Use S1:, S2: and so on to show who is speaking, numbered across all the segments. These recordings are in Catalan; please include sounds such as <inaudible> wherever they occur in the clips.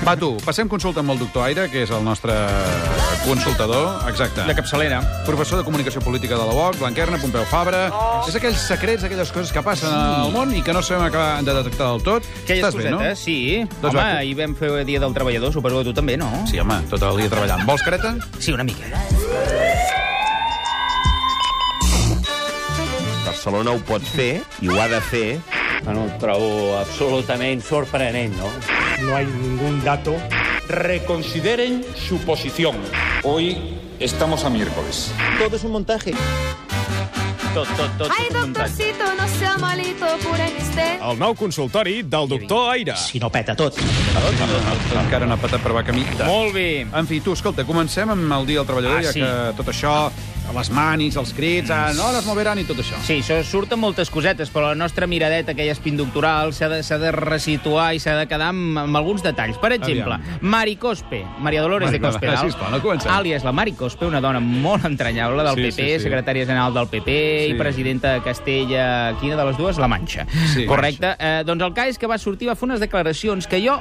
S1: Va, tu, passem consulta amb el doctor Aire, que és el nostre consultador. Exacte.
S2: De capçalera.
S1: Professor de Comunicació Política de la UOC, Blanquerna, Pompeu Fabra... Oh. És aquells secrets, aquelles coses que passen al món i que no sabem acabar de detectar del tot.
S2: Aquelles
S1: Estàs bé, no?
S2: cosetes, sí.
S1: Doncs
S2: home,
S1: va, tu-
S2: ahir vam fer el Dia del Treballador, suposo que tu també, no?
S1: Sí, home, tot el dia treballant. Vols careta?
S2: Sí, una mica.
S3: Barcelona ho pot fer i ho ha de fer.
S1: Ah,
S4: Bueno, ho trobo absolutament sorprenent, no?
S5: No hay ningún dato
S6: Reconsideren su posición. Hoy estamos a miércoles.
S2: Tot, tot, tot.
S7: Ay,
S2: tot un muntatge.
S7: doctorcito, no sea malito, pura amistad.
S8: El nou consultori del doctor Aire.
S2: Si no peta tot.
S1: Encara no ha patat per va camí.
S2: Molt bé.
S1: En fi, tu, escolta, comencem amb el Dia del Treballador,
S2: Ah,
S1: ja
S2: sí.
S1: que tot això, les manis, els crits, ah, no, les moveran i tot això.
S2: Sí, això surten moltes cosetes, però la nostra miradeta, aquella espindoctoral, s'ha de, s'ha de resituar i s'ha de quedar amb, amb alguns detalls. Per exemple,
S1: Aviam.
S2: Mari Cospe, Maria Dolores
S1: Mari,
S2: de Cospedal,
S1: va, sisplau, no comencem.
S2: àlies la Mari Cospe, una dona molt entranyable del
S1: Sí,
S2: PP,
S1: sí, sí.
S2: secretària general del PP
S1: Sí.
S2: i presidenta de Castella, quina de les dues? La Manxa.
S1: Sí,
S2: Correcte. Eh, doncs el cas és que va sortir, va fer unes declaracions que jo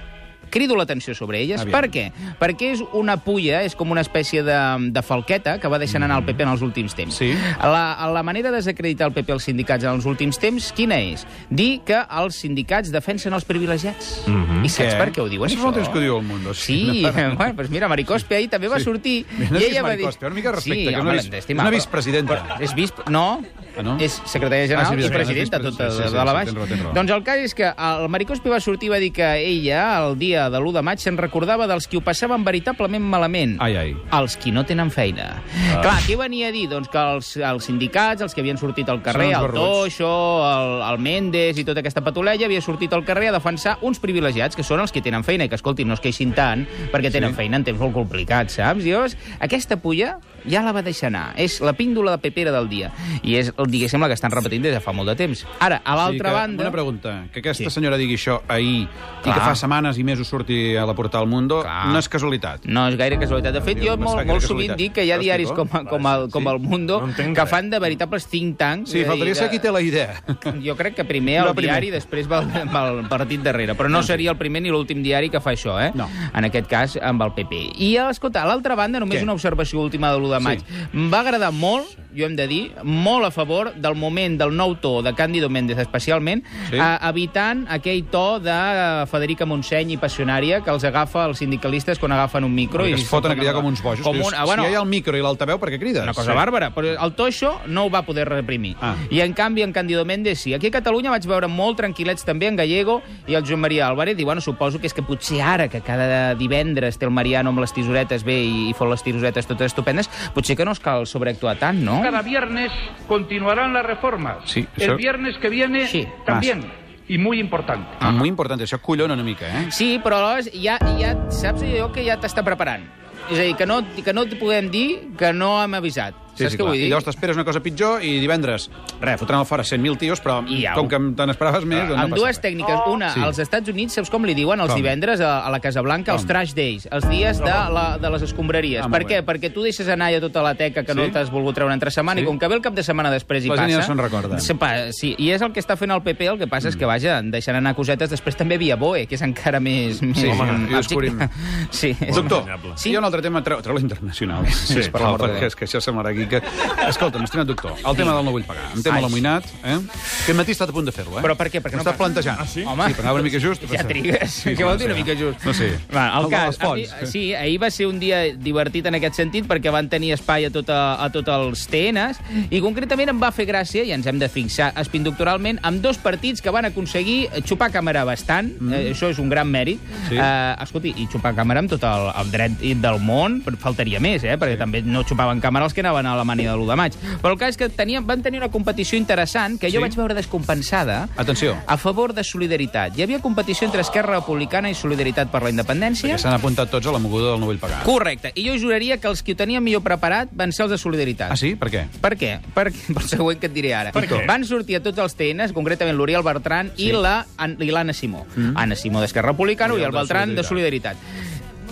S2: crido l'atenció sobre elles.
S1: Aviam.
S2: Per què? Perquè és una pulla, és com una espècie de, de falqueta que va deixant anar el PP en els últims temps.
S1: Sí.
S2: La, la manera de desacreditar el PP als sindicats en els últims temps, quina és? Dir que els sindicats defensen els privilegiats. Mm -hmm. I saps
S1: Mhm. Què?
S2: per què ho diuen,
S1: Això
S2: això?
S1: fa temps que ho diu el Mundo, sí. <laughs>
S2: Sí, bueno, doncs mira, Maricospe ahir també va
S1: Sí. <laughs>
S2: sortir.
S1: No diguis Maricospe, una mica de respecte,
S2: sí,
S1: que és una
S2: home,
S1: vis-
S2: l'hem
S1: és
S2: d'estimar,
S1: una
S2: però-
S1: vicepresidenta.
S2: però És vis... No,
S1: Ah, no?
S2: és secretària general
S1: Ah, sí,
S2: i
S1: vicepresidenta,
S2: presidenta
S1: vicepresidenta,
S2: tota
S1: sí, sí,
S2: de la
S1: sí,
S2: baix.
S1: tens raó, tens raó.
S2: Doncs el cas és que el Maricospe va sortir i va dir que ella, el dia de l'1 de maig, se'n recordava dels qui ho passaven veritablement malament
S1: Ai, ai.
S2: els qui no tenen feina. Ah. Clar, què venia a dir? Doncs que els, els sindicats, els que havien sortit al carrer,
S1: Són uns
S2: el
S1: barruts.
S2: Toixo, el, el Méndez i tota aquesta patolella, havia sortit al carrer a defensar uns privilegiats, que són els que tenen feina, i que, escolti, no es queixin tant, perquè tenen feina en temps molt complicat, saps? I llavors, aquesta pulla ja la va deixar anar. És la píndola de pepera del dia. I és, diguéssim, la que estan repetint des de fa molt de temps. Ara, a l'altra
S1: que,
S2: banda...
S1: Una pregunta. Que aquesta
S2: Sí.
S1: senyora digui això ahir i
S2: Clar.
S1: que fa setmanes i mesos surti a la portal Mundo,
S2: Clar.
S1: no és casualitat.
S2: No és gaire casualitat. De fet,
S1: Diu, no
S2: jo
S1: és
S2: molt,
S1: gaire
S2: molt
S1: casualitat.
S2: sovint dic que hi ha
S1: Ho
S2: diaris
S1: explico?
S2: com, com, el, com el Mundo que fan de veritables think tanks. Eh,
S1: Sí,
S2: és a dir,
S1: faltaria
S2: de-
S1: ser qui té la idea.
S2: Jo crec que primer
S1: No,
S2: el
S1: primer.
S2: diari, després va el, va el partit darrere. Però no seria el primer ni l'últim diari que fa això, eh?
S1: No.
S2: En aquest cas, amb el PP. I, escolta, a l'altra banda, només
S1: Què?
S2: una observació última de l'1 de maig. Em va agradar molt, jo hem de dir, molt a favor del moment del nou to de Càndido Méndez, especialment,
S1: Sí.
S2: eh, evitant aquell to de eh, Federica Montseny i passionària que els agafa els sindicalistes quan agafen un micro.
S1: Perquè
S2: i
S1: es foten a cridar com uns bojos.
S2: Com
S1: Dius,
S2: un, ah, bueno,
S1: Si hi ha el micro i l'altaveu, per què crides?
S2: una cosa bàrbara, però el Toixo no ho va poder reprimir.
S1: Ah.
S2: I en canvi en Cándido Méndez sí. Aquí a Catalunya vaig veure molt tranquil·lets també en Gallego i el Joan Maria Álvarez. I bueno, suposo que és que potser ara que cada divendres té el Mariano amb les tisoretes bé i, i fot les tisoretes totes estupendes, potser que no es cal sobreactuar tant, no?
S9: Cada viernes continuarán las reformas.
S1: ¿Eh? Sí,
S9: El
S1: eso-
S9: viernes que viene
S2: Sí.
S9: también. Y muy importante.
S1: Ah. Molt important, això collona una mica, eh?
S2: Sí, però aleshores ja, ja saps allò que ja t'està preparant. És a dir, que no, que no et podem dir que no hem avisat. saps què
S1: clar.
S2: vull
S1: I
S2: dir?
S1: llavors t'esperes una cosa pitjor i divendres, res, fotran al fora 100.000 tios, però
S2: I au. Ah,
S1: com que te n'esperaves més, doncs no
S2: amb
S1: passa
S2: dues
S1: res.
S2: tècniques. Una,
S1: Sí.
S2: als Estats Units, saps com li diuen els
S1: Com?
S2: divendres a, a la Casa Blanca? Els
S1: Com?
S2: trash days, els dies de, la, de les escombraries.
S1: Ah,
S2: per
S1: molt
S2: què?
S1: bé.
S2: Perquè tu deixes anar ja tota la teca que
S1: Sí?
S2: no t'has volgut treure entre setmana
S1: Sí.
S2: i com que ve el cap de setmana després hi
S1: La gent
S2: passa...
S1: ja se'n recorda. Mm.
S2: Se pa, sí, i és el que està fent el PP, el que passa és que, vaja, deixant anar cosetes. Després també via Boe, que és encara més... més
S1: home,
S2: abjecte.
S1: i descobrim.
S2: <laughs> Sí. és-
S1: Doctor, sí?
S2: Sí?
S1: hi ha un altre tema, treu, treu l'internacional. Sí, per
S2: favor,
S1: favor, perquè
S2: Déu.
S1: és que això semblarà aquí que... Escolta'm, estimat doctor, el tema del no vull pagar, em tema
S2: Ai.
S1: l'amoïnat, eh? Aquest matí he estat a punt de fer-lo, eh?
S2: Però per què? Perquè
S1: M'ho
S2: no
S1: estàs
S2: pa-
S1: plantejant. Ah, sí?
S2: Home.
S1: Sí, però anava una mica just.
S2: Ja trigues. Sí, Què vol dir una mica just?
S1: No sé.
S2: Va, el,
S1: El de
S2: cas,
S1: les fonts.
S2: ahir- sí, ahir va ser un dia divertit en aquest sentit perquè van tenir espai a tot, a, a tot els TNs i concretament em va fer gràcia, i ens hem de fixar espindoctoralment, amb dos partits que van aconseguir xupar càmera bastant. Mm. Eh, això és un gran mèrit.
S1: Sí.
S2: Eh, escolti, i xupar càmera amb tot el, el dret i- del món, però faltaria més, eh? perquè també no xupaven càmera els que anaven a Alemanya de l'1 de maig. Però el cas és que tenien, van tenir una competició interessant que jo
S1: Sí.
S2: vaig veure descompensada
S1: Atenció.
S2: a favor de solidaritat. Hi havia competició entre Esquerra Republicana i Solidaritat per la Independència.
S1: Ja s'han apuntat tots a la moguda del no vull pagar.
S2: Correcte. I jo juraria que els que ho tenien millor preparat van ser els de Solidaritat.
S1: Ah, sí? Per què?
S2: Per què? Per, per següent que et diré ara. Per què? Van sortir a tots els TNs, concretament l'Oriol Bertran sí. i la- i l'Anna Simó. Mm. Anna Simó d'Esquerra Republicana i
S1: Oriol
S2: el
S1: de
S2: Bertran de Solidaritat.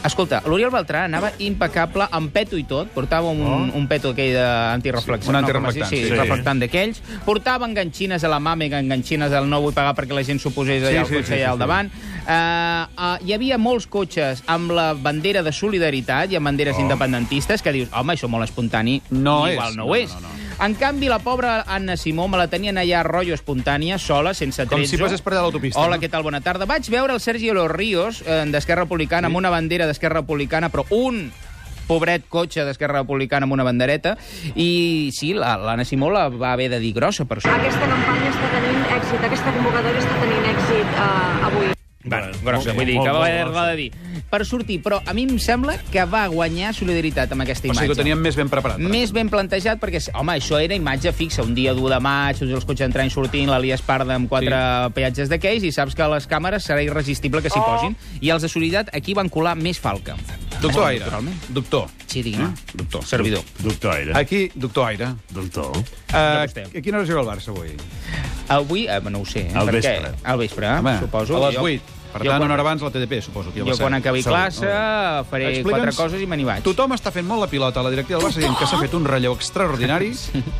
S2: Escolta, l'Oriol Beltrán anava impecable, amb peto i tot, portava un, oh. un peto aquell d'antireflexant.
S1: Sí, un antireflectant,
S2: No, com es diu? sí,
S1: sí.
S2: sí, reflectant d'aquells. Portava enganxines a la màmega, enganxines al no vull pagar perquè la gent s'ho posés allà sí, sí, al cotxe sí, allà al davant. Uh, uh, hi havia molts cotxes amb la bandera de solidaritat i amb banderes oh. independentistes que dius, home, això molt espontani,
S1: No
S2: igual
S1: és.
S2: no
S1: No,
S2: ho és.
S1: no, no.
S2: En canvi, la pobra Anna Simó me la tenien allà rotllo espontània, sola, sense
S1: Com si
S2: tretzo.
S1: passés per allà a l'autopista,
S2: Hola,
S1: no?
S2: què tal? Bona tarda. Vaig veure el Sergio Los Ríos, eh, d'Esquerra Republicana, sí. amb una bandera d'Esquerra Republicana, però un pobret cotxe d'Esquerra Republicana amb una bandereta, i sí, la- l'Anna Simó la va haver de dir grossa per això.
S10: Aquesta campanya està tenint èxit, aquesta convocatòria està tenint èxit eh, avui.
S2: Bueno, grossa, vull dir, que va haver va de dir. Per sortir, però a mi em sembla que va guanyar solidaritat amb aquesta
S1: O
S2: imatge.
S1: sigui que ho teníem més ben preparat.
S2: Més ben plantejat, perquè, home, això era imatge fixa. Un dia 1 de maig, tots els cotxes entrant i sortint, l'Elias Parda amb quatre sí. peatges d'aquells, i saps que les càmeres serà irresistible
S1: Oh!
S2: que s'hi posin. I els de Solidaritat aquí van colar més falca.
S1: Doctor Aire,
S2: Naturalment.
S1: doctor, Eh?
S2: Sí, digui'm.
S1: doctor.
S2: Servidor.
S8: Doctor Aire.
S1: Aquí, doctor Aire.
S8: Doctor.
S1: Uh,
S2: vostè.
S1: a quina hora juga el Barça avui?
S2: Avui, eh, no ho sé. Eh,
S8: Al
S2: perquè-
S8: vespre.
S2: Al vespre, Home, Ah, suposo.
S1: a les
S2: Jo-
S1: 8. Per
S2: jo
S1: tant,
S2: quan-
S1: una hora abans la TDP, suposo. Aquí a
S2: Jo
S1: les
S2: quan
S1: set.
S2: acabi
S1: Segur.
S2: classe,
S1: Molt bé.
S2: faré
S1: Explica'ns-
S2: quatre coses i me n'hi vaig.
S1: Tothom està fent molt la pilota a la directiva del Barça dient que s'ha fet un relleu
S2: <laughs>
S1: extraordinari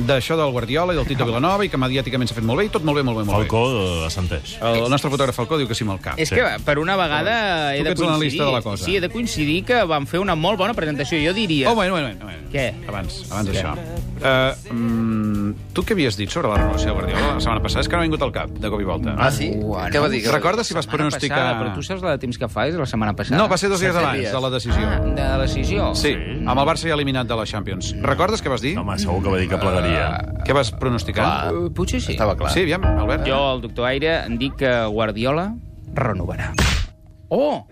S1: d'això del Guardiola i del Tito Vilanova i que mediàticament s'ha fet molt bé i tot molt bé, molt bé, molt
S8: Falcó eh, assenteix.
S1: bé. El nostre fotògraf Falcó diu que sí amb el cap.
S2: És que per una vegada
S1: Tu
S2: he
S1: que
S2: de
S1: ets l'analista
S2: coincidir...
S1: de la cosa.
S2: Sí, he de coincidir que van fer una molt bona presentació. Jo diria...
S1: Oh, bueno, bueno, bueno, bueno.
S2: Què?
S1: Abans, abans d'això. Uh, mm, tu què havies dit sobre la relació de Guardiola la setmana passada? És que no ha vingut al cap, de cop i volta.
S11: Ah, sí?
S2: Bueno,
S11: Què va dir?
S1: Recorda si vas
S2: Setmana
S1: pronosticar...
S2: Passada, però tu saps la de temps que fa? És la setmana passada.
S1: No, va ser dos dies
S11: Setze
S1: abans
S11: dies.
S1: de la decisió.
S2: Ah, de la decisió.
S1: Sí, amb el Barça ja eliminat de la Champions. Recordes què vas dir?
S8: Home, segur que va dir que plegaria.
S1: Què vas pronosticar?
S2: Eh, Potser sí.
S11: Estava clar.
S1: Sí, aviam, Albert.
S2: Jo, el doctor Aire, em dic que Guardiola renovarà. Oh!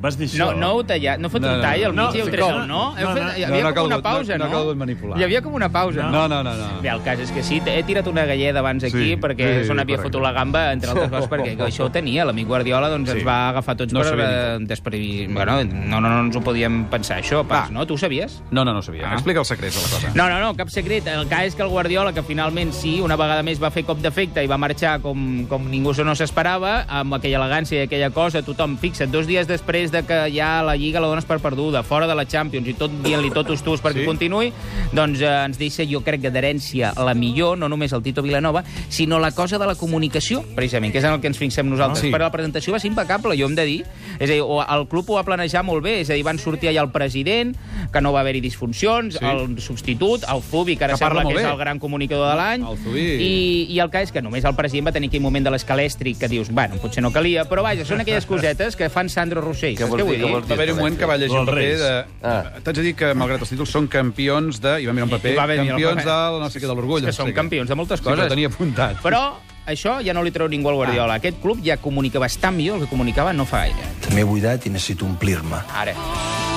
S8: Vas dir això?
S2: No, no heu tallat, no heu fet
S1: No,
S2: un
S1: no,
S2: tall al
S1: no.
S2: mig i heu
S1: No,
S2: tret
S1: no,
S2: el no? Heu
S8: no,
S2: fet,
S8: no.
S2: hi
S1: No,
S2: havia
S1: no ha
S2: com una
S1: calgut,
S2: pausa,
S1: no,
S2: no?
S1: no ha calgut manipular.
S2: Hi havia com una pausa, no?
S1: No, no, no. no.
S2: Bé, el cas és que sí, he tirat una galleda abans aquí
S1: Sí,
S2: perquè
S1: sí,
S2: se n'havia
S1: correcte.
S2: fotut la gamba, entre altres coses, perquè
S1: <laughs>
S2: això ho tenia. L'amic Guardiola doncs, ens va agafar tots
S1: No
S2: per...
S1: sabia
S2: eh, Desprevi... Bueno, no, no, no ens ho podíem pensar, això, pas,
S1: Va.
S2: no? Tu ho sabies?
S1: No, no, no ho sabia.
S2: Ah.
S1: Explica els secrets de la cosa.
S2: No, no, no, cap secret. El cas és que el Guardiola, que finalment sí, una vegada més va fer cop d'efecte i va marxar com, com ningú no s'esperava, amb aquella elegància i aquella cosa, tothom fixa't, dos dies després de que ja la Lliga la dones per perduda, fora de la Champions i tot dient-li totos tus
S1: Sí.
S2: perquè sí. continuï, doncs eh, ens deixa, jo crec que d'herència la millor, no només el Tito Vilanova, sinó la cosa de la comunicació, precisament, que és en el que ens fixem nosaltres.
S1: Ah, sí.
S2: Però la presentació va ser impecable, jo hem de dir. És a dir, o- el club ho va planejar molt bé, és a dir, van sortir allà el president, que no va haver-hi disfuncions,
S1: Sí.
S2: sí. el substitut, el Zubi, que ara
S1: Que
S2: que
S1: parla
S2: sembla que
S1: molt
S2: és
S1: bé.
S2: el gran comunicador de l'any.
S1: El Zubi.
S2: I, I el cas és que només el president va tenir aquell moment de l'escalèstric que dius, bueno, potser no calia, però vaja, són
S1: <laughs>
S2: aquelles cosetes que fan Sandro Rossell.
S11: Què
S2: Saps
S11: vols
S2: què vull
S11: dir? Què
S2: dir?
S11: vols
S1: Va haver un moment que va llegir un
S8: Dels
S1: paper
S8: Reis.
S1: de...
S11: Ah.
S1: T'haig de dir que, malgrat els títols, són campions de... I va mirar un paper,
S2: I va haver-hi el
S1: campions
S2: paper.
S1: de la no sé què, de l'orgull.
S2: És que
S1: no sé
S2: són
S1: què.
S2: campions de moltes
S1: Sí, que
S2: coses.
S1: ho tenia apuntat.
S2: Però això ja no li treu ningú al Guardiola. Ah. Aquest club ja comunica bastant millor el que comunicava no fa gaire.
S11: M'he buidat i necessito omplir-me.
S2: Ara.